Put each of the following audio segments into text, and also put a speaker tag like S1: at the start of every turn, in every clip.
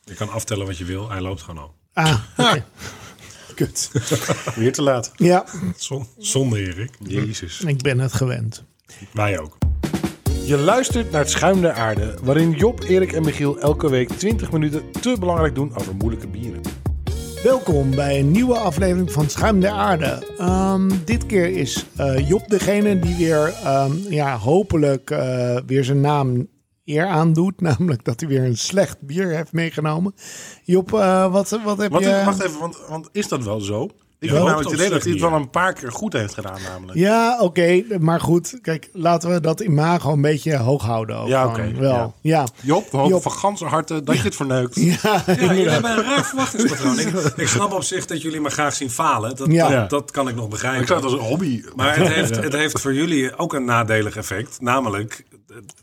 S1: Je kan aftellen wat je wil. Hij loopt gewoon al.
S2: Ah, oké.
S3: Kut. Weer te laat.
S2: ja,
S1: Zon, zonde, Erik.
S3: Jezus.
S2: ik ben het gewend.
S1: Wij ook.
S3: Je luistert naar het Schuim der Aarde, waarin Job, Erik en Michiel elke week 20 minuten te belangrijk doen over moeilijke bieren.
S2: Welkom bij een nieuwe aflevering van Schuim der Aarde. Ehm, dit keer is eh, Job degene die weer, ehm, ja, hopelijk eh, weer zijn naam eer aandoet. Namelijk dat hij weer een slecht bier heeft meegenomen. Job, eh, wat, wat heb
S3: Wat,
S2: je...
S3: Wacht even, want, want is dat wel zo? Ik
S1: Ja,
S3: heb
S1: op
S3: namelijk het idee dat
S1: zich
S3: hij het
S1: niet.
S3: wel een paar keer goed heeft gedaan namelijk.
S2: Ja, oké. Maar goed, kijk, laten we dat imago een beetje hoog houden. Ook
S3: Ja,
S2: gewoon.
S3: oké,
S2: Wel, ja.
S3: Job, we hopen
S2: Job.
S3: van ganse harte dat je het verneukt.
S2: Ja,
S1: Ja, jullie hebben een raar verwachtingspatroon. ik, ik snap op zich dat jullie maar graag zien falen. Dat,
S2: Ja.
S1: dat, dat kan ik nog begrijpen.
S3: Ik zou het als een hobby...
S1: Maar het heeft, het heeft voor jullie ook een nadelig effect. Namelijk,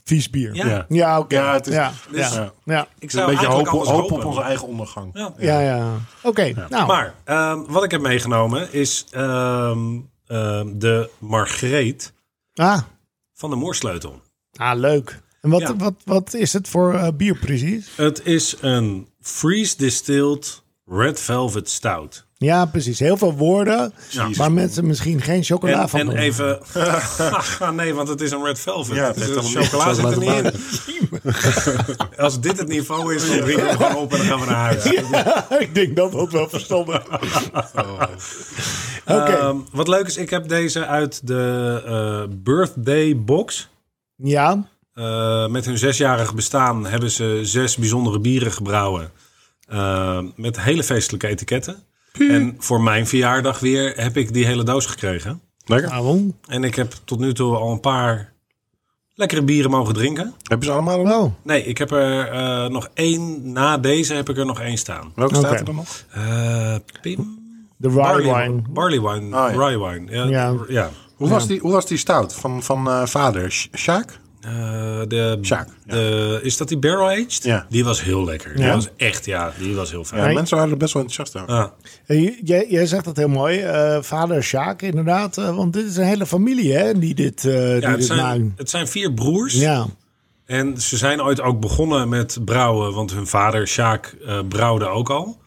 S2: vies bier. Ja,
S1: ja,
S3: Ja.
S2: ja oké.
S3: Ja, het is-
S2: Ja,
S1: dus-
S2: ja, ja.
S1: ik
S3: een
S1: zou
S3: beetje hoop,
S1: eigenlijk
S3: hoop,
S1: anders hopen.
S3: op onze eigen ondergang.
S1: Ja.
S2: Ja, ja. Oké, nou.
S1: Maar ehm, wat ik heb meegenomen is ehm, ehm, de Margreet
S2: Ah,
S1: van de Moorsleutel.
S2: ah, leuk. En wat,
S1: Ja.
S2: wat, wat is het voor eh, bier precies?
S1: Het is een freeze distilled red velvet stout.
S2: Ja, precies. Heel veel woorden
S1: Ja.
S2: waar mensen misschien geen chocola
S1: En,
S2: van
S1: en
S2: doen.
S1: even. Ah, nee, want het is een red velvet.
S3: Ja, het
S1: dus
S3: heeft
S1: de
S3: helemaal niks
S1: chocola
S3: met
S1: zit er niet
S3: chocola
S1: in. Als dit het niveau is, dan drinken we gewoon op en dan gaan we naar huis.
S2: ik denk dat dat wel verstandig is.
S3: Oh.
S2: Oké.
S1: Ehm, wat leuk is, ik heb deze uit de eh, birthday box.
S2: ja,
S1: Eh, met hun zesjarig bestaan hebben ze zes bijzondere bieren gebrouwen. Eh, met hele feestelijke etiketten. En voor mijn verjaardag weer heb ik die hele doos gekregen.
S3: Lekker.
S2: waarom?
S1: En ik heb tot nu toe al een paar lekkere bieren mogen drinken.
S3: Heb je ze allemaal nog?
S2: Oh,
S1: Nee, ik heb er eh, nog één. Na deze heb ik er nog één staan.
S3: Welke
S2: Oké.
S3: staat er dan nog?
S1: Eh, Pim?
S2: de rye wine.
S1: Barley wine.
S3: Ah, ja.
S1: Rye wine. Ja.
S2: Ja.
S1: ja.
S3: Hoe, was die, hoe was die stout van, van eh, vader? Sh- Sjaak?
S1: Eh, de,
S3: Sjaak, ja.
S1: de- is dat die barrel aged?
S3: Ja.
S1: Die was heel lekker. Die
S3: Ja?
S1: was echt, ja, die was heel fijn.
S3: Ja,
S2: Nee.
S3: mensen waren er best wel enthousiast over.
S1: Ah,
S2: Hey, Eh, j- Jij, jij zegt dat heel mooi, eh, vader Sjaak, inderdaad. eh, want dit is een hele familie hè, die dit, eh, die
S1: ja, het,
S2: dit
S1: zijn,
S2: maken.
S1: het zijn vier broers.
S2: Ja,
S1: En ze zijn ooit ook begonnen met brouwen, want hun vader, Sjaak, eh, brouwde ook al.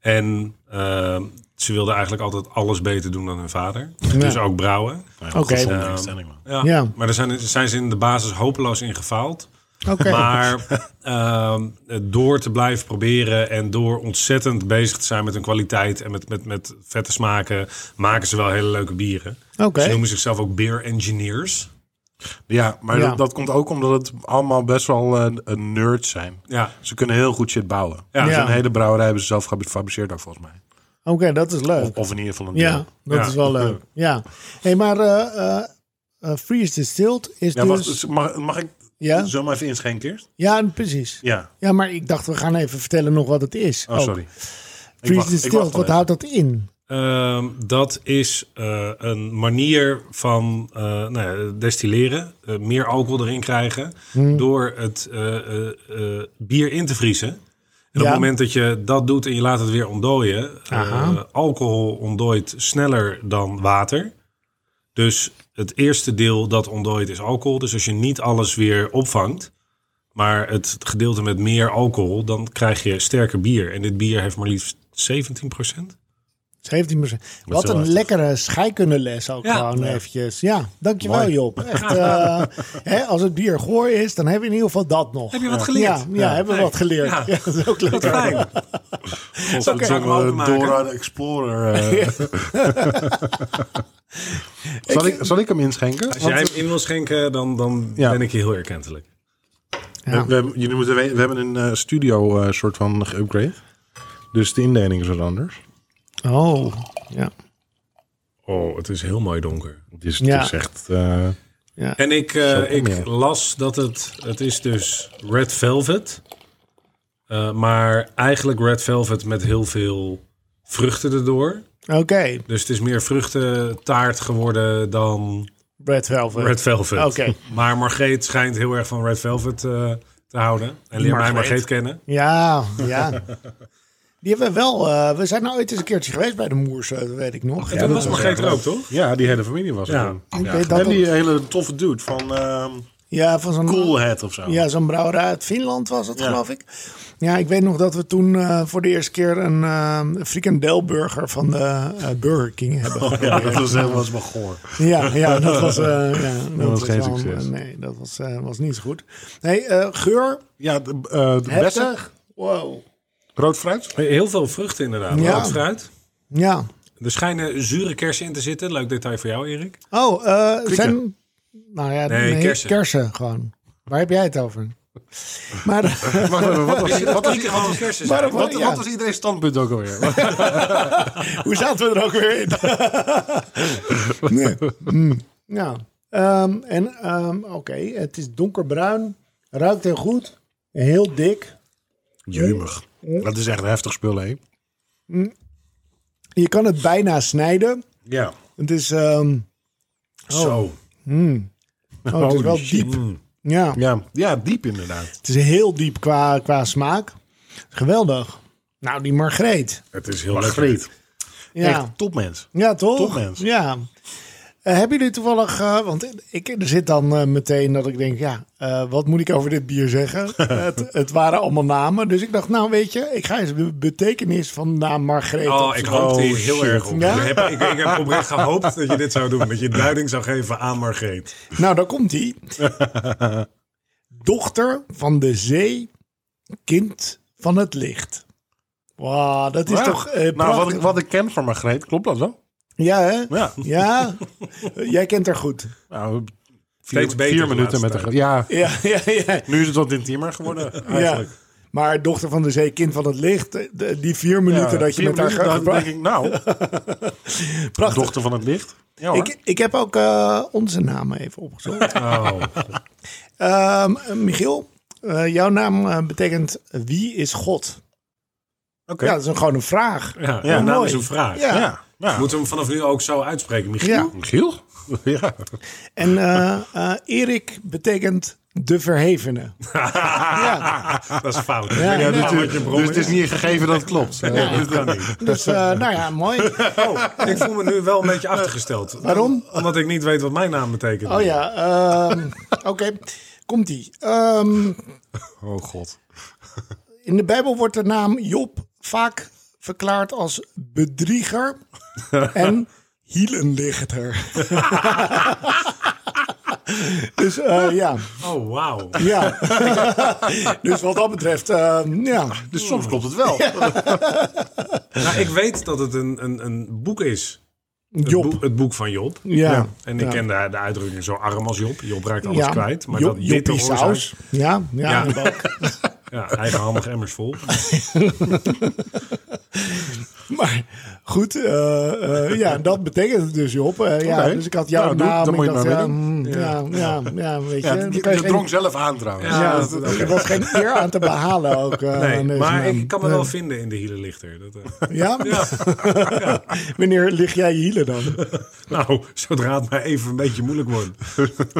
S1: En eh, ze wilden eigenlijk altijd alles beter doen dan hun vader. Dus ook brouwen.
S2: oké.
S3: Zonder instelling, man.
S1: Ja.
S2: Ja.
S1: Maar daar zijn, zijn ze in de basis hopeloos in gefaald.
S2: Oké.
S1: Maar ehm, door te blijven proberen en door ontzettend bezig te zijn met hun kwaliteit en met, met, met vette smaken, maken ze wel hele leuke bieren.
S2: Oké.
S1: Ze noemen zichzelf ook beer engineers.
S3: Ja, maar
S2: Ja.
S3: Dat, dat komt ook omdat het allemaal best wel eh, een nerd zijn.
S1: Ja.
S3: Ze kunnen heel goed shit bouwen.
S1: Ja.
S3: Dus
S2: Ja.
S3: een hele brouwerij hebben ze zelf gefabriceerd ook volgens mij.
S2: Oké, dat is leuk.
S3: Of, of in ieder geval een
S2: Ja,
S3: deel.
S2: dat
S1: Ja.
S2: is wel leuk. Ja. Hey, maar eh eh eh, Freeze Distilled is
S3: Ja,
S2: dus...
S3: wacht, dus mag, mag ik
S2: Ja?
S3: zo maar even inschenken eerst?
S2: Ja, precies. Ja.
S3: Ja.
S2: maar ik dacht, we gaan even vertellen nog wat het is.
S3: Oh,
S2: Ook.
S3: sorry.
S2: Freeze
S3: wacht- ik
S2: Distilled,
S3: wacht al
S2: wat
S3: even.
S2: houdt dat in?
S1: Ehm, dat is eh, een manier van eh, nou ja, destilleren, eh, meer alcohol erin krijgen,
S2: Hmm.
S1: door het eh, eh, eh, bier in te vriezen. En op
S2: Ja.
S1: het moment dat je dat doet en je laat het weer ontdooien, eh,
S2: Aha.
S1: alcohol ontdooit sneller dan water. Dus het eerste deel dat ontdooit is alcohol. Dus als je niet alles weer opvangt, maar het gedeelte met meer alcohol, dan krijg je sterker bier. En dit bier heeft maar liefst 17
S2: 17%. Wat
S3: heel
S2: een
S3: heftig.
S2: lekkere scheikundeles ook
S1: Ja.
S2: gewoon eventjes. Ja, dankjewel
S3: Mooi.
S2: Job. Echt, eh, hè, als het bier goor is, dan hebben we in ieder geval dat nog.
S1: Heb je wat
S2: ja,
S1: geleerd?
S2: ja, hebben we
S1: Nee.
S2: wat geleerd. Ja.
S1: Ja.
S2: dat is ook leuk.
S1: Wat fijn.
S3: Zo'n eh,
S1: Oké. Zou ik hem openmaken?
S3: Dora de Explorer. eh. zal, ik, zal ik hem inschenken?
S1: Als
S3: Want,
S1: jij hem in wil schenken, dan, dan
S3: Ja.
S1: ben ik je heel erkentelijk.
S2: Ja.
S3: eh, we, hebben- jullie moeten, we, we hebben een eh, studio eh, soort van geupgrade. Dus de indeling is wat anders.
S2: Oh, ja.
S1: Oh, het is heel mooi donker.
S3: Het is,
S2: Ja.
S3: het is echt... eh,
S1: En ik, eh,
S3: Zo kom je.
S1: ik las dat het... Het is dus Red Velvet. Eh, maar eigenlijk Red Velvet met heel veel vruchten erdoor.
S2: Oké,
S1: Dus het is meer vruchtentaart geworden dan
S2: Brad Velvet.
S1: Red Velvet.
S2: Oké.
S1: Maar Margreet schijnt heel erg van Red Velvet eh, te houden. En leer mij
S3: Margreet.
S1: Margreet kennen.
S2: Ja, ja. Die hebben we wel. eh, we zijn nou ooit eens een keertje geweest bij de Moers, eh, dat weet ik nog.
S1: En toen was Margreet er ook, toch?
S3: Ja, die eh, hele familie was er
S1: Ja.
S3: toen.
S2: Oké,
S1: Ja.
S2: dat
S3: en die hele toffe dude van ehm,
S2: Ja, van zo'n
S1: Coolhead of zo.
S2: Ja, zo'n brouwerij uit Finland was het,
S1: Ja.
S2: geloof ik. Ja, ik weet nog dat we toen eh, voor de eerste keer een eh frikandelburger van de eh, Burger King hebben.
S1: Oh ja, dat was helemaal
S3: was maar goor.
S2: Ja, ja, dat was, eh, ja, dat
S3: was geen
S2: wel-
S3: succes.
S2: nee, dat was, eh, was niet zo goed. Nee, eh, geur,
S3: Ja, de, eh de bessen.
S2: heftig. Wow.
S3: Rood fruit.
S1: Heel veel vruchten inderdaad.
S2: Ja.
S1: Rood fruit.
S2: Ja.
S1: Er schijnen zure kersen in te zitten. Leuk detail voor jou, Erik.
S2: Oh, eh, zijn... Nou ja,
S1: Nee,
S2: nee,
S1: kersen.
S2: kersen. gewoon. Waar heb jij het over? Maar,
S3: Wacht even, wat was, wat was,
S1: Niet gewoon kersen zijn.
S2: maar,
S3: wat,
S2: ja,
S3: wat was iedereen standpunt ook alweer?
S2: hoe zaten we er ook weer in? nee. Mm. Ja. Ehm, en ehm, oké, het is donkerbruin. Ruikt heel goed. Heel dik.
S3: Jumig. Dat is echt een heftig spul, hè?
S2: Je kan het bijna snijden.
S3: Ja.
S2: Het is, ehm,
S1: Zo.
S2: oh, het is wel diep. Ja,
S3: Ja, ja, diep inderdaad.
S2: het is heel diep qua, qua smaak. Geweldig. Nou, die Margreet.
S1: Het is heel
S3: Margreet.
S2: Ja.
S3: Echt topmens.
S2: Ja, toch?
S3: Topmens.
S2: Ja. Eh, hebben jullie toevallig, eh, want ik, er zit dan eh, meteen dat ik denk, ja, eh, wat moet ik over dit bier zeggen? het, het waren allemaal namen, dus ik dacht, nou weet je, ik ga eens de betekenis van de naam Margreet.
S1: Oh, ik
S2: opzoeken.
S1: hoopte hier
S3: Oh,
S1: heel
S3: shit.
S1: erg op.
S2: Ja?
S1: Ik, heb, ik, ik heb oprecht gehoopt dat je dit zou doen. Dat je duiding zou geven aan Margreet.
S2: Nou, daar komt hij. Dochter van de zee, kind van het licht. Wauw, dat is
S3: Ja.
S2: toch eh,
S3: nou,
S2: prachtig.
S3: wat ik, wat ik ken van Margreet, klopt dat wel?
S2: Ja, hè?
S3: Ja.
S2: Ja, jij kent haar goed.
S3: Nou, vier,
S1: Steeds beter
S3: vier
S1: de laatste
S3: minuten met de...
S1: tijd.
S3: Ja,
S2: Ja, ja, ja.
S3: nu is het wat intiemer geworden
S2: ja.
S3: eigenlijk.
S2: Maar dochter van de zee, kind van het licht. eh, de- die vier minuten dat je
S3: vier
S2: met haar
S3: minuten,
S2: gaat.
S3: dan denk ik, nou,
S2: prachtig.
S3: dochter van het licht. Ja, hoor.
S2: Ik, ik heb ook eh, onze namen even opgezocht.
S1: Oh.
S2: Ehm, Michiel, eh, jouw naam eh, betekent wie is God?
S3: Oké.
S2: Ja, dat is een, gewoon een vraag.
S1: Ja,
S3: Ja,
S1: ja nou
S2: mooi.
S1: is een vraag.
S2: Ja.
S3: Ja. ja.
S1: Moeten we hem vanaf nu ook zo uitspreken, Michiel?
S2: Ja.
S3: Michiel? ja.
S2: En eh, eh, Erik betekent de verhevene. ja.
S1: Dat is fout.
S2: Ja,
S1: Ik weet niet
S2: ja.
S1: wat je bron
S3: Dus het is niet gegeven dat het klopt.
S1: Nee, dat kan niet.
S2: Dus eh, nou ja, mooi.
S1: Oh, ik voel me nu wel een beetje achtergesteld.
S2: Waarom?
S1: Omdat ik niet weet wat mijn naam betekent.
S2: Oh ja, ehm, oké. Komt-ie. Ehm,
S3: Oh god.
S2: In de Bijbel wordt de naam Job vaak verklaard als bedrieger en hielenlichter. dus eh, ja,
S1: Oh, wauw.
S2: ja. dus wat dat betreft, eh, ja.
S3: Dus soms klopt het wel.
S1: Nou, ik weet dat het een, een, een boek is. Het,
S2: Job.
S1: boek- het boek van Job.
S2: Ja.
S1: En ik
S2: Ja.
S1: ken de, de uitdrukking zo arm als Job. Job raakt alles
S2: Ja.
S1: kwijt. Maar
S2: Job-
S1: dat dit de
S2: Joppie
S1: oorzaak-
S2: saus. Ja, ja.
S1: Ja.
S2: in de bak.
S1: Ja, eigenhandig emmers vol.
S2: Maar goed, eh, eh, ja, dat betekent het dus Job. Eh, ja,
S3: Oké.
S2: dus ik had jouw
S3: Nou, doe-
S2: naam.
S3: dan
S2: ik
S3: moet je
S2: dacht,
S3: het
S2: ja,
S3: maar
S2: mm, ja. Ja, ja, weet je.
S3: Ja,
S2: Dan
S3: je
S2: kan je geen-
S3: drong zelf aan trouwens.
S1: Ja,
S2: Ja,
S1: dat-
S2: dat-
S1: oké.
S2: er was geen eer aan te behalen ook. eh,
S1: Nee,
S2: aan deze
S1: maar
S2: naam.
S1: ik kan me wel vinden in de hielenlichter. Dat, eh,
S2: Ja? Wanneer lig jij je hielen dan?
S1: nou, zodra het maar even een beetje moeilijk wordt.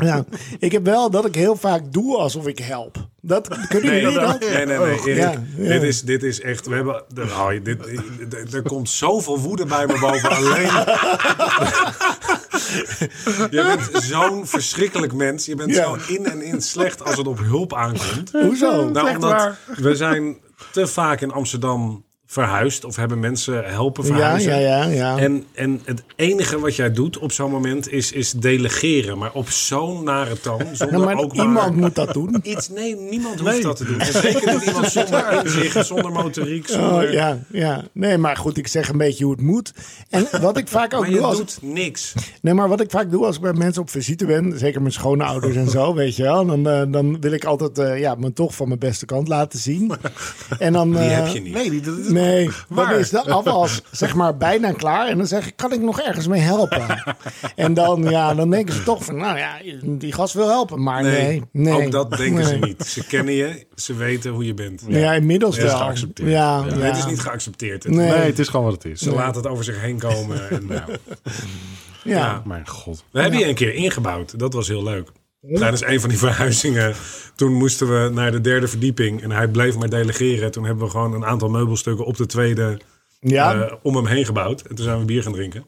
S2: ja. Ik heb wel dat ik heel vaak doe alsof ik help. Dat, kunnen
S1: Nee,
S2: jullie dat? Oh.
S1: nee, nee, nee, Erik,
S2: Ja, ja.
S1: Dit, is, dit is echt. We hebben, oh, dit, dit- er komt zoveel woede bij me boven. Alleen. Je bent zo'n verschrikkelijk mens. Je bent
S2: Ja.
S1: zo in en in slecht als het op hulp aankomt.
S2: Hoezo?
S1: Nou,
S3: Echt
S1: omdat
S3: waar.
S1: we zijn te vaak in Amsterdam verhuisd of hebben mensen helpen
S2: Ja,
S1: verhuizen.
S2: ja, ja. ja.
S1: En, en het enige wat jij doet op zo'n moment is, is delegeren. Maar op zo'n nare toon. Zonder
S2: Ja, maar
S1: ook
S2: iemand
S1: maar
S2: moet dat doen.
S1: iets. Nee, niemand hoeft dat te doen. En zeker niet iemand zonder inzicht, zonder motoriek. Zonder...
S2: Oh, ja, ja. Nee, maar goed, ik zeg een beetje hoe het moet. En wat ik vaak ook
S1: Maar
S2: doe
S1: je
S2: als...
S1: doet niks.
S2: Nee, maar wat ik vaak doe als ik bij mensen op visite ben, zeker mijn schoonouders en zo, weet je wel, dan, eh, dan wil ik altijd eh, ja, me toch van mijn beste kant laten zien. En dan,
S1: Die
S2: eh,
S1: heb je niet.
S3: Nee, die- dat is...
S2: Nee,
S3: Waar?
S2: dan is de afwas zeg maar bijna klaar. En dan zeg ik, kan ik nog ergens mee helpen? en dan, ja, dan denken ze toch van, nou ja, die gast wil helpen. Maar nee, nee.
S1: ook dat denken ze
S2: Nee.
S1: niet. Ze kennen je, ze weten hoe je bent.
S2: Ja, inmiddels
S3: Het is
S2: wel.
S3: geaccepteerd.
S2: Ja,
S1: Nee,
S2: ja.
S1: Het is niet geaccepteerd. Het-
S2: Nee.
S3: Nee, het is gewoon wat het is.
S1: Ze laten het over zich heen komen. En, nou,
S2: Ja.
S1: ja.
S3: Mijn god.
S1: We hebben je een keer ingebouwd. Dat was heel leuk. Tijdens een van die verhuizingen. Toen moesten we naar de derde verdieping. En hij bleef maar delegeren. Toen hebben we gewoon een aantal meubelstukken op de tweede
S2: Ja,
S1: eh, om hem heen gebouwd. En toen zijn we bier gaan drinken.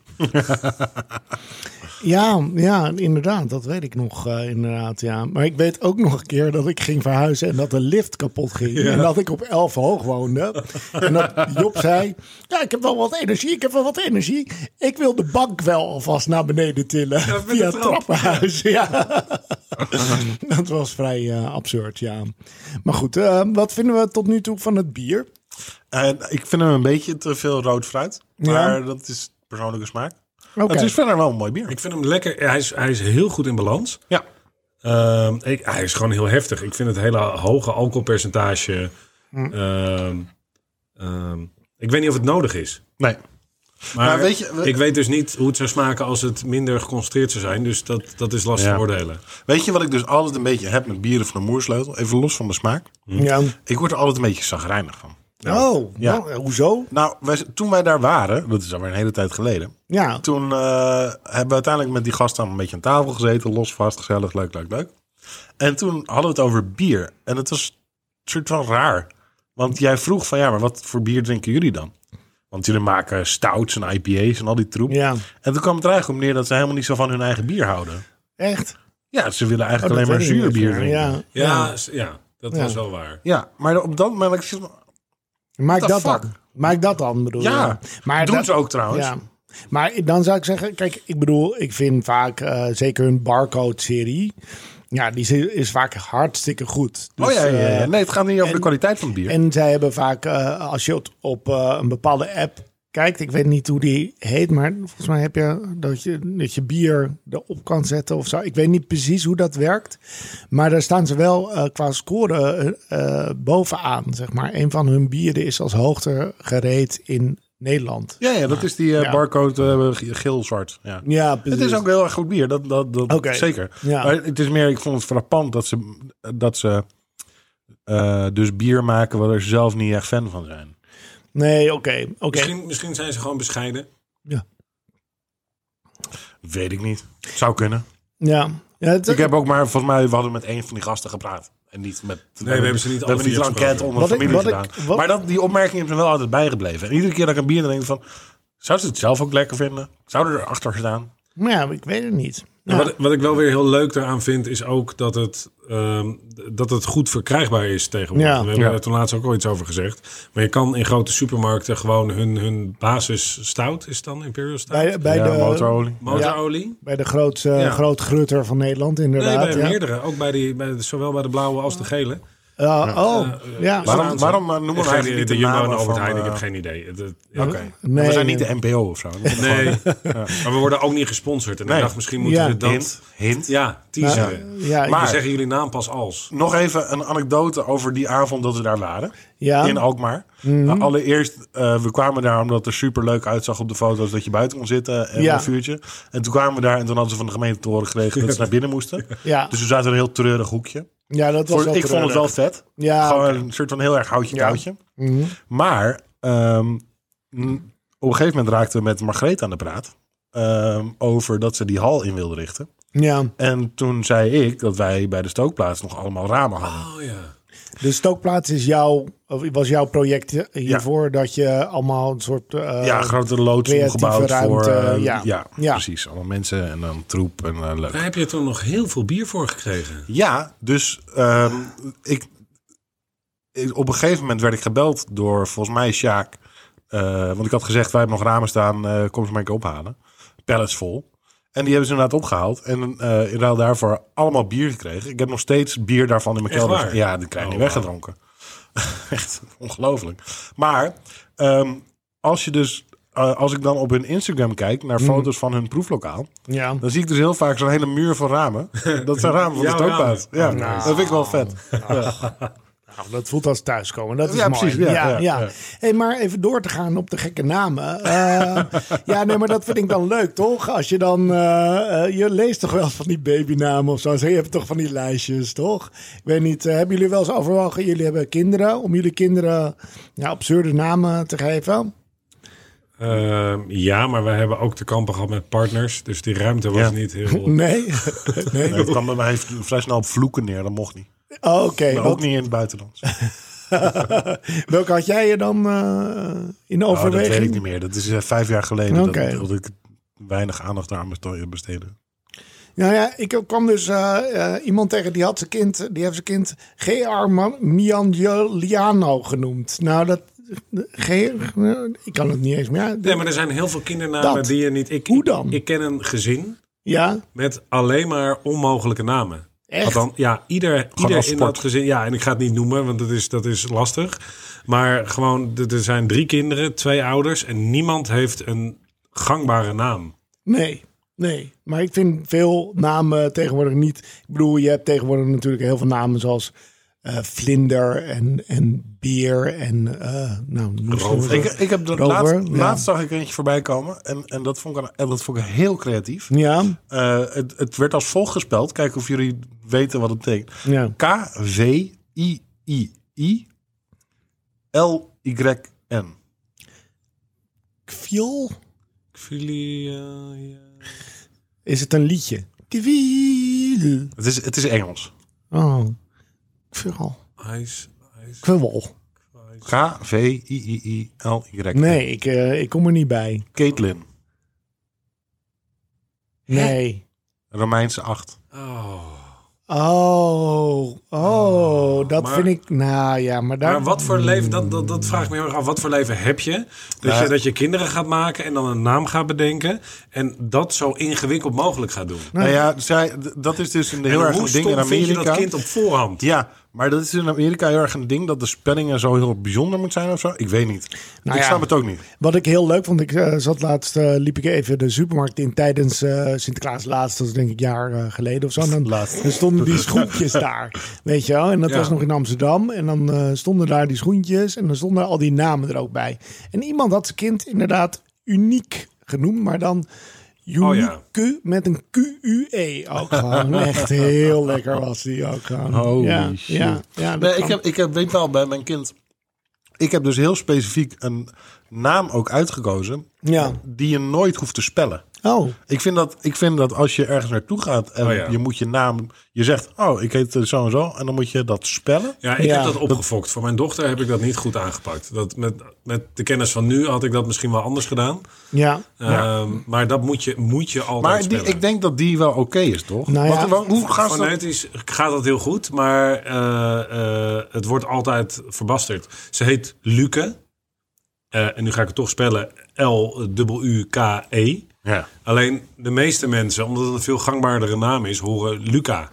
S2: Ja, ja, inderdaad. Dat weet ik nog, eh, inderdaad, ja. Maar ik weet ook nog een keer dat ik ging verhuizen en dat de lift kapot ging. En dat ik op 11 hoog woonde. En dat Job zei, ja, ik heb wel wat energie, ik heb wel wat energie. Ik wil de bank wel alvast naar beneden tillen
S1: Ja, met de
S2: via het
S1: trap.
S2: trappenhuis. Ja. dat was vrij eh, absurd, ja. Maar goed, eh, wat vinden we tot nu toe van het bier?
S3: Eh, ik vind hem een beetje te veel rood fruit.
S2: Ja.
S3: Maar dat is persoonlijke smaak.
S2: Oké,
S3: Het is verder wel een mooi bier.
S1: Ik vind hem lekker. Hij is, hij is heel goed in balans.
S3: Ja.
S1: Ehm, ik, hij is gewoon heel heftig. Ik vind het hele hoge alcoholpercentage.
S2: Hmm.
S1: ehm, ehm, ik weet niet of het nodig is.
S3: Nee.
S1: Maar,
S2: Nou,
S3: Maar weet je-
S1: ik weet dus niet hoe het zou smaken als het minder geconcentreerd zou zijn. Dus dat, dat is lastig
S3: Ja.
S1: oordelen.
S3: Weet je wat ik dus altijd een beetje heb met bieren van de moersleutel? Even los van de smaak.
S2: ja.
S3: Ik word er altijd een beetje zagrijnig van.
S2: Oh,
S3: ja.
S2: nou, hoezo?
S3: Nou, wij- toen wij daar waren, dat is alweer een hele tijd geleden.
S2: Ja,
S3: Toen eh, hebben we uiteindelijk met die gasten een beetje aan tafel gezeten. Los, vast, gezellig, leuk, leuk, leuk. En toen hadden we het over bier. En het was een soort van raar. Want jij vroeg van, ja, maar wat voor bier drinken jullie dan? Want jullie maken stouts en IPA's en al die troep.
S2: ja.
S3: En toen kwam het er eigenlijk om neer dat ze helemaal niet zo van hun eigen bier houden.
S2: Echt?
S3: Ja, ze willen eigenlijk
S2: Oh, dat
S3: alleen maar
S2: weet ik niet
S3: zuur bier
S2: meer.
S3: drinken. Ja.
S2: Ja,
S1: Ja, s- ja dat
S2: Ja.
S1: was wel waar.
S3: maar op dat moment... ik zit van,
S2: Maak
S3: What
S2: dat
S3: the
S2: dan.
S3: fuck?
S2: Maak dat dan, bedoel
S3: Ja,
S2: je. Maar
S3: Doen
S2: dat-
S3: ze ook trouwens. Oh,
S2: Ja. Maar dan zou ik zeggen, kijk, ik bedoel, ik vind vaak eh, zeker hun barcode-serie. Ja, die is- is vaak hartstikke goed. Dus,
S3: oh ja, ja, ja.
S2: eh,
S3: nee, het gaat niet over de kwaliteit van het bier.
S2: en zij hebben vaak, eh, als je op, op, eh, een bepaalde app kijkt, ik weet niet hoe die heet, maar volgens mij heb je dat je, dat je bier erop kan zetten of zo. Ik weet niet precies hoe dat werkt, maar daar staan ze wel eh, qua score eh, eh, bovenaan, zeg maar. Een van hun bieren is als hoogte gereed in Nederland.
S3: Ja, ja, dat is die eh,
S2: Ja.
S3: barcode eh, ge- geel-zwart. Ja.
S2: Ja, precies.
S3: Het is ook heel erg goed bier, dat, dat, dat
S2: Dus- Oké.
S3: zeker.
S2: Ja.
S3: Maar het is meer, ik vond het frappant dat ze, dat ze eh, dus bier maken waar ze zelf niet echt fan van zijn.
S2: Nee, oké. oké.
S1: Misschien, misschien zijn ze gewoon bescheiden.
S3: Weet ik niet. Zou kunnen.
S2: Ja. ja het,
S3: Ik heb ook maar, volgens mij, we hadden met één van die gasten gepraat. En niet met.
S1: we hebben ze niet
S3: We
S1: alle
S3: hebben niet
S1: vier
S3: lang kent
S1: gesproken.
S3: onder
S2: Wat ik-
S3: familie
S2: wat ik-
S3: gedaan.
S2: wat-
S3: maar dat, die opmerking is me wel altijd bijgebleven. En iedere keer dat ik een bier drink, denk ik van. Zou ze het zelf ook lekker vinden? Zou er achter staan?
S2: maar ja, ik weet het niet. Ja.
S1: En Wat, wat ik wel weer heel leuk daaraan vind, is ook dat het, ehm, dat het goed verkrijgbaar is tegenwoordig.
S2: Ja.
S1: We hebben
S3: Ja.
S1: daar toen laatst ook al iets over gezegd. Maar je kan in grote supermarkten gewoon hun, hun basis stout, is het dan Imperial Stout?
S2: Nou, bij, bij,
S3: ja,
S2: de,
S3: motorolie.
S1: Motorolie?
S2: bij de grootste,
S1: Ja.
S2: groot grutter van Nederland,
S1: Nee,
S2: inderdaad.
S1: bij
S2: ja.
S1: meerdere. Ook bij die, bij, de- zowel bij de blauwe als de gele.
S2: Ja, oh, ja.
S1: Waar-
S3: Waarom, waarom eh, noemen
S1: Geen
S3: we eigenlijk
S1: idee,
S3: niet
S1: de
S3: de
S1: Jumbo en
S3: namen
S1: Albert
S3: van,
S1: Heijn, ik
S3: eh,
S1: heb geen idee. Het- het- ja.
S3: Oké.
S2: Nee,
S3: we zijn niet
S2: nee.
S3: de NPO of zo. Dat is
S1: Nee,
S3: gewoon-
S1: maar we worden ook niet gesponsord. En
S3: Nee.
S1: ik dacht, misschien moeten
S2: Ja.
S1: we dat...
S3: Hint, hint.
S1: Ja,
S2: Ja,
S1: teaseren.
S2: ja, ik-
S1: We
S3: Maar-
S1: zeggen jullie naam pas als.
S3: Nog even een anekdote over die avond dat we daar waren.
S2: Ja. Mhm.
S3: In Alkmaar. Nou, allereerst, eh, we kwamen daar omdat het er super leuk uitzag op de foto's dat je buiten kon zitten en
S2: Ja.
S3: een vuurtje. En toen kwamen we daar en toen hadden ze van de gemeente te horen gekregen dat ze naar binnen moesten.
S2: Ja.
S3: Dus we zaten in een heel treurig hoekje.
S2: ja, dat was
S3: Voor-
S2: wel
S3: ik vond het wel
S2: treurig.
S3: vet.
S2: Ja,
S3: Gewoon
S2: oké.
S3: een soort van heel erg houtje touwtje.
S2: Mhm.
S3: Maar ehm, n- op een gegeven moment raakten we met Margreet aan de praat. ehm, over dat ze die hal in wilde richten.
S2: Ja,
S3: En toen zei ik dat wij bij de stookplaats nog allemaal ramen hadden.
S1: Oh ja.
S2: de stookplaats is jouw, of was jouw project hiervoor dat je allemaal een soort... eh,
S3: ja, grotere loods
S2: creatieve
S3: omgebouwd voor...
S2: ruimte,
S3: eh,
S2: ja.
S3: ja.
S2: Ja.
S3: precies. Allemaal mensen en dan troep en eh, leuk.
S1: Daar heb je toen nog heel veel bier voor gekregen.
S3: Ja, dus ehm, ik, ik- op een gegeven moment werd ik gebeld door volgens mij Sjaak. eh, want ik had gezegd, wij hebben nog ramen staan, eh, kom ze maar een keer ophalen. Pallets vol. En die hebben ze inderdaad opgehaald. En eh in ruil daarvoor allemaal bier gekregen. Ik heb nog steeds bier daarvan in mijn
S1: Echt
S3: kelder.
S1: waar?
S3: Ja, die krijg je
S1: Oh,
S3: niet weggedronken. Echt ongelooflijk. Maar ehm, als je dus... eh, als ik dan op hun Instagram kijk
S1: Mm.
S3: naar foto's van hun proeflokaal,
S2: Ja.
S3: dan zie ik dus heel vaak zo'n hele muur van ramen. Dat zijn ramen Oh, van de
S1: Jouw
S3: stookplaat.
S1: ramen.
S3: Ja, dat vind ik wel vet.
S2: Nou, dat voelt als thuiskomen. Dat is
S3: Ja,
S2: mooi.
S3: precies. Ja, ja, ja.
S2: Hey, maar even door te gaan op de gekke namen. Eh, ja, nee, maar dat vind ik dan leuk, toch? Als je dan... eh, eh, je leest toch wel eens van die babynamen of zo. Zo, Je hebt toch van die lijstjes, toch? Ik weet niet, eh, hebben jullie wel eens overwogen... Jullie hebben kinderen, om jullie kinderen ja, absurde namen te geven?
S1: Ehm, ja, maar we hebben ook te kampen gehad met partners. Dus die ruimte was
S3: Ja.
S1: niet heel...
S2: Nee? nee?
S3: Nee, dat kwam bij mij vrij snel op vloeken neer. Dat mocht niet.
S2: Oh, Oké,
S3: Maar
S2: ook
S3: ook niet in het buitenland. Nou,
S2: Welke had jij je dan eh, in
S3: Oh, dat weet ik
S2: overweging?
S3: niet meer. Dat is eh, vijf jaar geleden
S2: Oké.
S3: dat, dat ik weinig aandacht aan besto- besteedde.
S2: nou ja, ik kwam dus eh, eh, iemand tegen die had zijn kind, die heeft zijn kind G.R. Ma- Miangeliano genoemd. Nou, dat. G, ik kan het niet eens meer. uit-
S1: Nee, maar er zijn heel veel kindernamen
S2: Dat.
S1: die je niet... Ik,
S2: Hoe
S1: ik-
S2: dan?
S1: Ik, ken een gezin
S2: Ja,
S1: met alleen maar onmogelijke namen.
S2: Echt?
S1: Althans, ja, ieder,
S3: als
S1: ieder in
S3: sport.
S1: dat gezin... Ja, en ik ga het niet noemen, want dat is, dat is lastig. Maar gewoon, er er zijn drie kinderen, twee ouders... en niemand heeft een gangbare naam.
S2: nee. Nee, maar ik vind veel namen tegenwoordig niet. Ik bedoel, je hebt tegenwoordig natuurlijk heel veel namen zoals eh, vlinder en, en beer en eh nou, noem ze
S1: Rover.
S3: Ik,
S2: maar.
S3: ik heb dat
S2: Rover,
S3: laatst,
S2: ja.
S3: laatst zag ik er eentje voorbij komen. En, en dat, vond ik, een- en dat vond ik heel creatief.
S2: ja,
S3: Eh, het, het werd als volgt gespeld. Kijken of jullie weten wat het betekent.
S2: ja.
S3: K-V-I-I-I-L-Y-N.
S2: Kviel?
S1: Filia...
S2: Is het een liedje? Kwiel.
S3: Het is, het is Engels.
S2: Oh, kvural.
S1: Ijs... ijs-
S2: Kvubbel.
S1: ijs.
S3: K-V-I-I-I-L-Y.
S2: Nee, ik, eh, ik kom er niet bij.
S3: Caitlin.
S2: Nee.
S3: Romeinse 8.
S1: Oh.
S2: Oh, oh, dat
S1: Maar-
S2: vind ik... Nou ja, maar daar...
S1: Maar wat voor leven, dat, dat, dat vraag ik me heel erg af. Wat voor leven heb je? Dat,
S3: Ja.
S1: je? dat je kinderen gaat maken en dan een naam gaat bedenken. En dat zo ingewikkeld mogelijk gaat doen.
S3: Nou ja, zij, d- dat is dus een heel
S1: En
S3: erg
S1: hoe
S3: een ding in
S1: stom vind je
S3: Amerika.
S1: dat kind op voorhand?
S3: Ja, maar dat is in Amerika heel erg een ding dat de spellingen zo heel bijzonder moet zijn of zo. Ik weet niet.
S2: Nou
S3: ik
S2: ja.
S3: snap het ook niet.
S2: Wat ik heel leuk vond, ik eh, zat laatst, eh, liep ik even de supermarkt in tijdens eh, Sinterklaas laatst, dat is denk ik een jaar eh, geleden of zo. En dan,
S3: Laatst.
S2: dan stonden die schoentjes daar, weet je wel. En dat
S1: Ja.
S2: was nog in Amsterdam. En dan eh, stonden daar die schoentjes en dan stonden al die namen er ook bij. En iemand had zijn kind inderdaad uniek genoemd, maar dan unieke
S1: Oh ja.
S2: met een Q-U-E ook gewoon. Echt heel lekker was die ook gewoon.
S3: Holy
S2: ja,
S3: shit.
S2: Ja, ja, dat
S3: Nee, ik,
S2: kan.
S3: heb, ik heb, weet wel bij mijn kind. Ik heb dus heel specifiek een naam ook uitgekozen
S2: Ja.
S3: die je nooit hoeft te spellen.
S2: Oh,
S3: Ik vind, dat, ik vind dat als je ergens naartoe gaat en
S1: Oh ja.
S3: je moet je naam... Je zegt, oh, ik heet eh, zo en zo. En dan moet je dat spellen.
S1: Ja, ik
S2: Ja.
S1: heb dat opgefokt. Voor mijn dochter heb ik dat niet goed aangepakt. Dat met, met de kennis van nu had ik dat misschien wel anders gedaan.
S2: ja.
S1: Ehm, maar dat moet je, moet je altijd
S3: Maar die,
S1: spellen.
S3: ik denk dat die wel oké is, toch?
S2: Nou ja.
S3: Want, wa- hoe gaan ze dat-
S1: Fonetisch gaat dat heel goed, maar eh, eh, het wordt altijd verbasterd. Ze heet Luke. Eh, en nu ga ik het toch spellen. L-U-K-E.
S3: Ja.
S1: Alleen de meeste mensen, omdat het een veel gangbaardere naam is, horen Luca.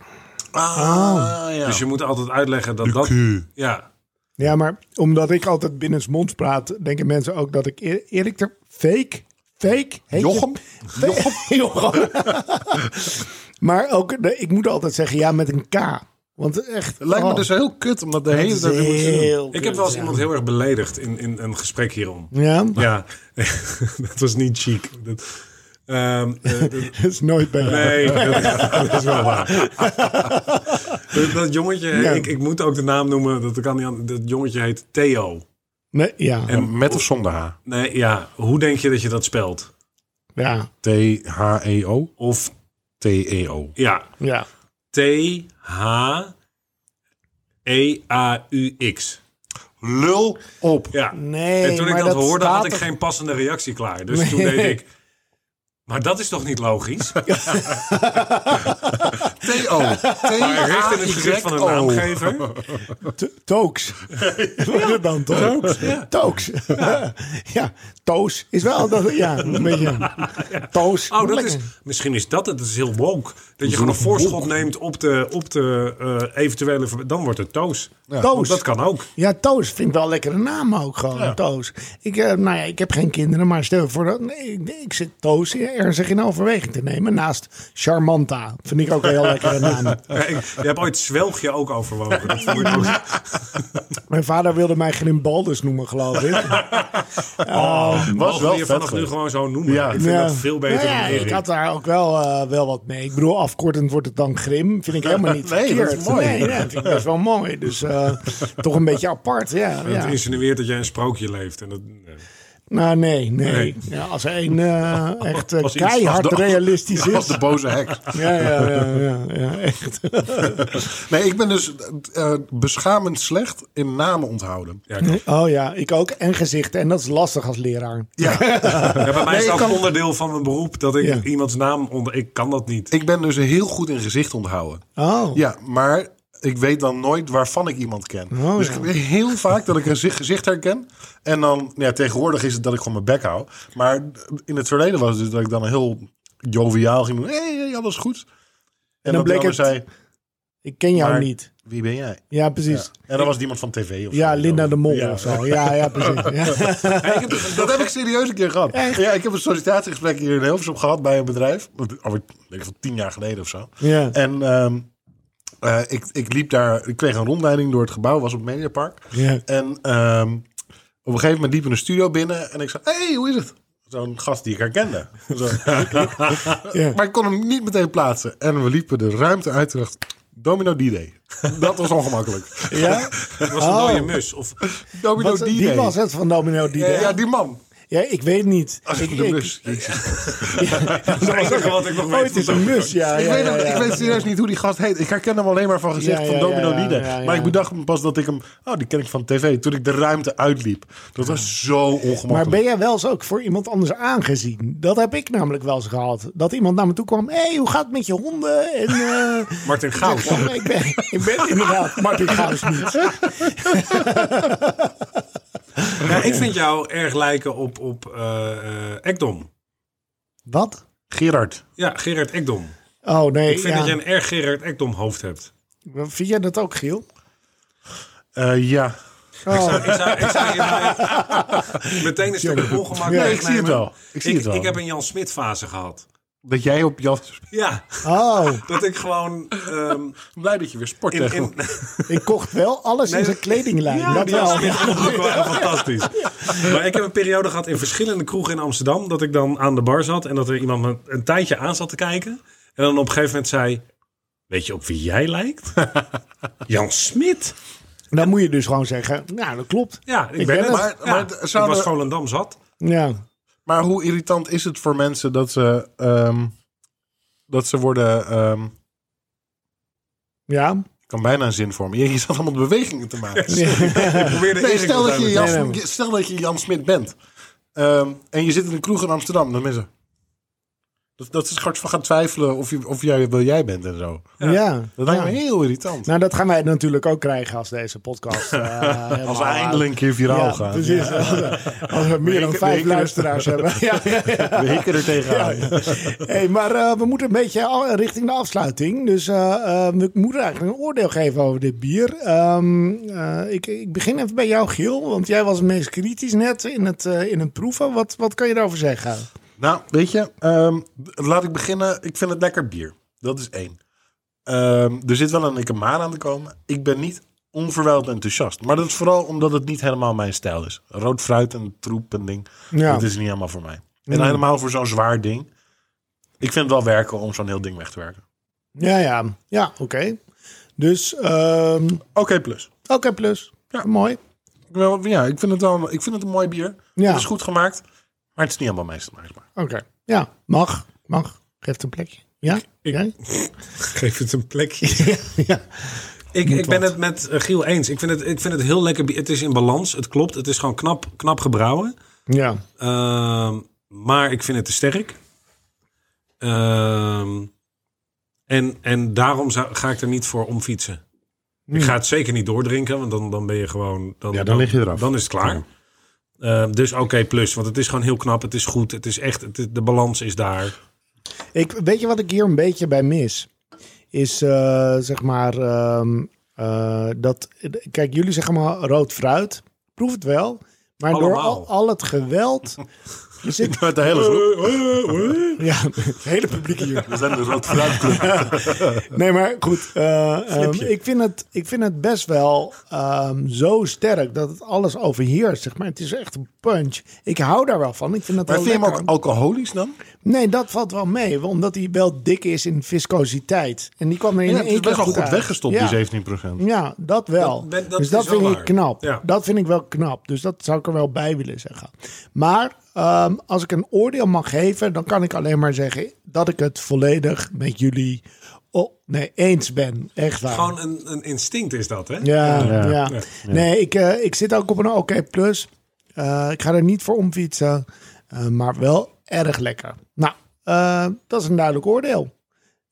S3: Ah, ja.
S1: Dus je moet altijd uitleggen dat dat... Ja,
S2: Ja, maar omdat ik altijd binnensmonds praat, denken mensen ook dat ik Erik- Erik de fake, fake, heet
S3: Jochem?
S2: Je, Jochem. Jochem. maar ook, de- ik moet altijd zeggen ja met een K. Want echt.
S3: Het lijkt me
S2: oh,
S3: dus heel kut om dat de hele
S2: dat is
S3: tijd weer moeten doen.
S2: heel
S1: ik heb wel eens iemand heel erg beledigd in, in een gesprek hierom.
S2: Ja,
S1: Ja, dat was niet chic. Dat, ehm, eh, dat-
S2: dat is nooit bij
S1: Nee, dat, dat is wel waar. dat, dat jongetje,
S2: Ja.
S1: ik, ik moet ook de naam noemen, dat kan niet aan- Dat jongetje heet Theo.
S2: Nee, ja,
S3: En met of zonder H?
S1: Nee, ja, hoe denk je dat je dat spelt?
S2: ja,
S3: T-H-E-O?
S1: Of
S3: T-E-O.
S1: ja,
S2: ja.
S1: E T-H-E-A-U-X.
S3: Lul op.
S1: Ja.
S2: Nee,
S1: en toen ik
S2: maar
S1: dat,
S2: dat
S1: hoorde,
S2: staat
S1: had ik
S2: toch-
S1: geen passende reactie klaar. Dus toen
S2: Nee.
S1: deed ik. Maar dat is toch niet logisch?
S3: T-O.
S1: E Maar recht
S3: E
S1: in het gezicht van een naamgever.
S2: T- Tooks. ja. dan toch? Tooks. Ja. Tooks. Ja. Toos is wel dat, ja, een beetje. Toos.
S1: Oh, dat
S2: Lekker.
S1: is, misschien is dat het. Dat is heel woke. Dat je gewoon een voorschot neemt op de, op de eh, eventuele... ver- Dan wordt het toos.
S2: Toos.
S1: Want Dat kan ook.
S2: Ja, Toos vind ik wel een lekkere naam ook gewoon. Toos. Ik, eh, nou ja, ik heb geen kinderen, maar stel je voor dat. Nee, ik, ik zit Toos ernstig in overweging te nemen. Naast Charmanta. Vind ik ook een heel lekkere naam.
S1: Ja, Eh, ik, je hebt ooit zwelgje ook overwogen. Dat vond ik ook-
S2: Mijn vader wilde mij Grimbaldus noemen, geloof ik. Oh,
S3: Was
S1: Mogen we
S3: wel
S1: je
S3: vet
S1: vanaf nu
S3: geweest.
S1: gewoon zo noemen.
S3: Ja.
S1: Oh, Ik vind dat veel beter
S2: Nou ja,
S1: dan Erik.
S2: Ik had daar ook wel, eh, wel wat mee. Ik bedoel, afkortend wordt het dan grim. Vind ik helemaal niet
S3: Nee, dat is
S2: verkeerd.
S3: mooi.
S2: Nee, nee, dat vind ik best wel mooi. Dus eh, toch een beetje apart, ja.
S1: Het
S2: ja.
S1: insinueert dat jij een sprookje leeft. En dat, nee.
S2: Nou, nee, nee.
S3: Nee.
S2: Ja, als er een eh, echt eh,
S3: Als iets-
S2: keihard
S3: als de-
S2: realistisch
S3: Dat was
S2: is.
S3: de boze heks.
S2: Ja, ja, ja, ja, ja, echt.
S3: Nee, ik ben dus eh, beschamend slecht in namen onthouden.
S1: Ja, klopt.
S2: Oh ja, ik ook. En gezichten. En dat is lastig als leraar.
S3: Ja,
S1: Ja, bij mij
S3: Nee,
S1: is
S3: ik
S1: dat
S3: kan-
S1: onderdeel van mijn beroep dat ik
S2: Ja.
S1: iemands naam onder. Ik kan dat niet.
S3: ik ben dus heel goed in gezicht onthouden.
S2: Oh,
S3: Ja, maar ik weet dan nooit waarvan ik iemand ken.
S2: Oh,
S3: dus
S2: ja.
S3: ik weet heel vaak dat ik een zicht- gezicht herken. En dan, ja, tegenwoordig is het dat ik gewoon mijn bek hou. Maar in het verleden was het dus dat ik dan heel joviaal ging doen. Hé, hey, hey, alles goed. En dan,
S2: dan bleek
S3: bleek
S2: het-
S3: zei,
S2: ik ken jou
S3: Maar-
S2: niet.
S3: wie ben jij?
S2: Ja, precies.
S3: En dan was het iemand van tv of zo.
S2: Ja, Linda de Mol
S3: Ja.
S2: of zo. Ja, ja, precies. Ja.
S3: Dat heb ik serieus een keer gehad. Ja, ik heb een sollicitatiegesprek hier in Hilversum gehad bij een bedrijf. Alweer, denk ik, van tien jaar geleden of zo.
S2: Ja.
S3: En ehm, eh, ik, ik liep daar, ik kreeg een rondleiding door het gebouw, was op het Mediapark.
S2: Ja.
S3: En ehm, op een gegeven moment liep in een studio binnen en ik zei, hey, hoe is het? Zo'n gast die ik herkende. Zo.
S2: Ja.
S3: Maar ik kon hem niet meteen plaatsen. En we liepen de ruimte uit en dacht, Domino D-Day. Dat was ongemakkelijk.
S2: Ja?
S1: Het was een
S2: Oh.
S1: dode mus. Of,
S3: Domino
S2: Was- die was
S3: D-Day.
S2: het van Domino die
S3: Oh, Ja, die man.
S2: Ja, ik weet niet. Ik,
S3: de
S2: ik-
S3: bus. Jezus.
S1: dat is het enige wat ik nog weet.
S2: oh, het is een mus, ja.
S3: ik,
S2: ja,
S3: weet
S2: ja,
S3: hem-
S2: ja.
S3: ik weet serieus niet hoe die gast heet. Ik herken hem alleen maar van gezicht
S2: Ja,
S3: van
S2: ja,
S3: Domino
S2: ja, ja,
S3: Lieder.
S2: ja, ja.
S3: Maar ik bedacht me pas dat ik hem... Oh, die ken ik van tv. Toen ik de ruimte uitliep. Dat was zo ongemakkelijk.
S2: Maar ben jij wel eens ook voor iemand anders aangezien? Dat heb ik namelijk wel eens gehad. Dat iemand naar me toe kwam. Hé, hey, hoe gaat het met je honden? En, eh,
S1: Martin Gauws.
S2: ik, ik, ben, ik ben inderdaad Martin Gauws niet.
S1: Ja, ik vind jou erg lijken op, op eh, eh, Ekdom.
S2: Wat?
S3: Gerard.
S1: Ja, Gerard Ekdom.
S2: Oh nee,
S1: Ik vind
S2: ja.
S1: dat je een erg Gerard Ekdom hoofd hebt.
S2: vind jij dat ook, Giel?
S3: Eh, ja.
S1: Ik zou, ik zou, ik zou hierbij meteen een stuk ongemak
S3: Nee, ik
S1: wegnemen.
S3: zie het wel. Ik zie
S1: ik,
S3: het wel.
S1: ik heb een Jan Smit fase gehad.
S3: Dat jij op Jan...
S1: Ja,
S2: Oh,
S1: dat ik gewoon... ehm,
S3: Blij dat je weer sport
S1: in, in,
S2: ik kocht wel alles in
S1: Nee,
S2: zijn kledinglijn.
S1: Ja,
S2: dat
S1: die Jan
S2: wel.
S1: Smit vond ik ook wel echt fantastisch. Maar ik heb een periode gehad in verschillende kroegen in Amsterdam... dat ik dan aan de bar zat en dat er iemand me een tijdje aan zat te kijken. En dan op een gegeven moment zei... Weet je op wie jij lijkt? Jan Smit.
S2: Dan moet je dus gewoon zeggen, nou dat klopt.
S1: Ja, ik,
S2: Ik
S1: ben
S2: ken
S1: het.
S2: het.
S1: Maar,
S3: Maar- maar
S1: ik
S3: zouden-
S1: was Volendam zat.
S2: Ja,
S3: Maar hoe irritant is het voor mensen dat ze... ehm, dat ze worden... ehm,
S2: ja.
S3: ik kan bijna een zin vormen. Je je zat allemaal bewegingen te maken.
S1: Ik probeerde
S3: Nee,
S1: Erik
S3: stel dat, je
S1: uiteindelijk-
S3: Jan,
S2: Nee, nee.
S3: je- stel dat je Jan Smit bent. Ehm, en je zit in een kroeg in Amsterdam. Dan mensen. Dat, dat ze straks van gaan twijfelen of, je, of jij wel jij bent en zo.
S2: Ja.
S3: Dat lijkt
S2: Ja.
S3: me heel irritant.
S2: Nou, dat gaan wij natuurlijk ook krijgen als deze podcast. eh, helemaal-
S3: Als we eindelijk een keer viraal
S2: ja, dus
S3: gaan.
S2: Precies, Als, we, als we meer dan
S3: Weken-
S2: vijf
S3: weken-
S2: luisteraars hebben. Ja, ja, ja.
S3: We hikken er tegenaan.
S2: Hey, maar eh, we moeten een beetje al- richting de afsluiting. Dus eh, eh, we moeten eigenlijk een oordeel geven over dit bier. Ehm, eh, ik, ik begin even bij jou, Giel. Want jij was het meest kritisch net in het, eh, in het proeven. Wat, wat kan je daarover zeggen?
S3: Nou, weet je, ehm, laat ik beginnen. Ik vind het lekker bier. Dat is één. Ehm, er zit wel een Ikemaan aan te komen. Ik ben niet onverwijld enthousiast. Maar dat is vooral omdat het niet helemaal mijn stijl is. Rood fruit en troep en ding.
S2: Ja.
S3: Dat is niet helemaal voor mij. En
S2: Mm.
S3: helemaal voor zo'n zwaar ding. Ik vind het wel werken om zo'n heel ding weg te werken.
S2: Ja, ja. Ja, oké. Dus, ehm,
S3: Oké, plus.
S2: oké, plus.
S3: Ja.
S2: Mooi.
S3: Ik wil- Ja, ik vind het wel ik vind het een mooi bier.
S2: Ja.
S3: Het is goed gemaakt. Maar het is niet helemaal mijn stijl. zeg maar.
S2: Oké. Ja, mag. Mag. Geeft een plekje. Ja? Jij?
S1: Geef het een plekje.
S2: ja.
S1: Ik, ik ben
S2: wat.
S1: het met eh, Giel eens. Ik vind het, ik vind het heel lekker. bier. Het is in balans. Het klopt. Het is gewoon knap, knap gebrouwen.
S2: Ja.
S1: Ehm, maar ik vind het te sterk. Ehm, en, en daarom zou- ga ik er niet voor omfietsen. Ik ga het zeker niet doordrinken, want dan, dan ben je gewoon... Dan,
S3: Ja, dan lig je eraf.
S1: Dan is het klaar. Ehm, dus oké, plus. Want het is gewoon heel knap. Het is goed. Het is echt... het- de balans is daar.
S2: Ik, weet je wat ik hier een beetje bij mis? Is eh, zeg maar ehm, eh, dat. Kijk, jullie zeggen maar rood fruit. Proef het wel. Maar door
S1: Allemaal.
S2: al, al het geweld. Er zit,
S3: Met de hele groep.
S2: ja, het hele publiek hier.
S3: We zijn de rood fruit club.
S2: Nee, maar goed. eh, ehm, ik, vind het, ik vind het best wel ehm, zo sterk dat het alles overheerst. Zeg maar. Het is echt een punch. Ik hou daar wel van. Ik vind dat
S3: Maar
S2: wel
S3: vind je hem
S2: lekker.
S3: ook alcoholisch dan?
S2: Nee, dat valt wel mee. Omdat hij wel dik is in viscositeit. En die kwam er in
S3: Ja,
S2: één
S3: het is
S2: keer
S3: best wel goed
S2: uit.
S3: weggestopt,
S2: ja.
S3: die 17%.
S2: Ja, dat wel.
S1: Dat- dat- dat
S2: dus
S1: is
S2: dat
S1: wel
S2: vind ik
S1: waar.
S2: knap.
S1: Ja.
S2: Dat vind ik wel knap. Dus dat zou ik er wel bij willen zeggen. Maar ehm, als ik een oordeel mag geven, dan kan ik alleen maar zeggen dat ik het volledig met jullie oh, nee, eens ben. Echt waar.
S1: Gewoon een, een instinct is dat, hè?
S2: Ja, ja.
S3: Ja.
S2: Nee, ik, eh, ik zit ook op een oké plus. Eh, ik ga er niet voor omfietsen, eh, maar wel erg lekker. Nou, eh, dat is een duidelijk oordeel.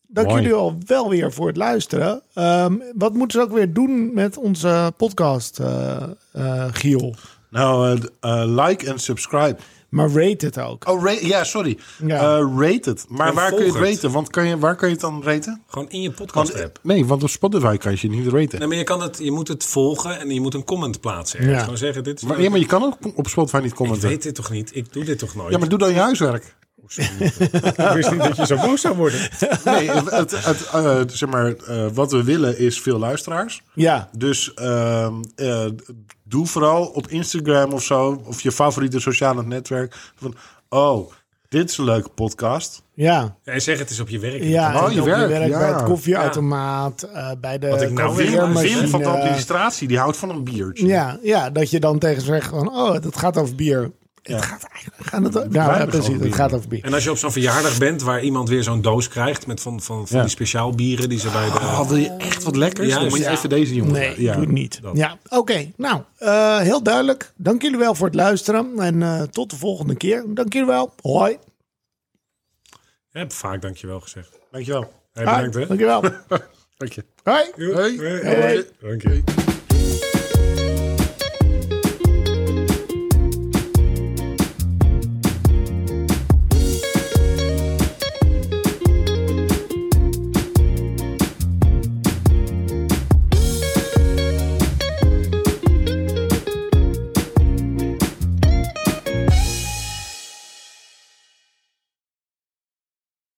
S2: Dank
S3: Mooi.
S2: jullie al wel weer voor het luisteren. Ehm, wat moeten ze ook weer doen met onze podcast, eh, eh, Giel?
S3: Nou, eh, d- eh, like en subscribe.
S2: Maar rate het ook.
S3: Oh, ra- ja, sorry.
S2: Ja.
S3: Eh, rate het. Maar
S1: En
S3: waar kun
S1: volg
S3: je het
S1: het.
S3: raten? Want kan je, waar kun je het dan raten?
S1: Gewoon in je podcast
S3: Want,
S1: app.
S3: nee, want op Spotify kan je het niet raten.
S1: Nee, maar je, kan het, je moet het volgen en je moet een comment plaatsen. ergens.
S2: Ja.
S1: Gewoon zeggen, dit is
S3: Maar, ja, maar je kan ook op Spotify niet
S1: Ik
S3: commenten.
S1: weet dit toch niet? Ik doe dit toch nooit?
S3: Ja, maar doe dan je huiswerk.
S1: ik wist niet dat je zo boos zou worden.
S3: Nee, het, het, eh, zeg maar, eh, wat we willen is veel luisteraars.
S2: Ja,
S3: Dus ehm, eh, doe vooral op Instagram of zo, of je favoriete sociale netwerk. Van, oh, dit is een leuke podcast.
S2: ja.
S1: En zeg het eens op je werk.
S2: ja.
S3: Oh,
S2: en
S3: je
S2: op
S3: werk,
S2: werk
S3: ja.
S2: bij het koffieautomaat, eh, bij de
S1: Wat ik nou weer-
S3: Wim,
S2: koffieermachine.
S3: Wim van de administratie, die houdt van een biertje.
S2: Ja, ja, dat je dan tegen ze zegt van, oh, dat gaat over bier. Het gaat eigenlijk, gaat het, nou, ja,
S3: hebben
S2: precies,
S3: gewoon
S2: het
S3: bier.
S2: gaat over bier.
S1: En als je op zo'n verjaardag bent waar iemand weer zo'n doos krijgt met van, van, van
S3: Ja.
S1: die speciaal bieren die ze bij de...
S3: Oh, wil je echt wat lekkers?
S1: Juist.
S3: dan moet je
S1: Ja.
S3: even deze jongen.
S2: Nee,
S3: ja.
S2: doe het niet. Ja, oké. Nou, eh, heel duidelijk. Dank jullie wel voor het luisteren. En eh, tot de volgende keer. Dank jullie wel. Hoi.
S1: Ik heb vaak dankjewel gezegd.
S3: Dankjewel.
S1: Hey, bedankt, hè?
S2: Hoi. Dank je wel.
S3: Dank je.
S2: Hoi.
S1: Doei.
S3: Hoi.
S1: Hoi. Dank je.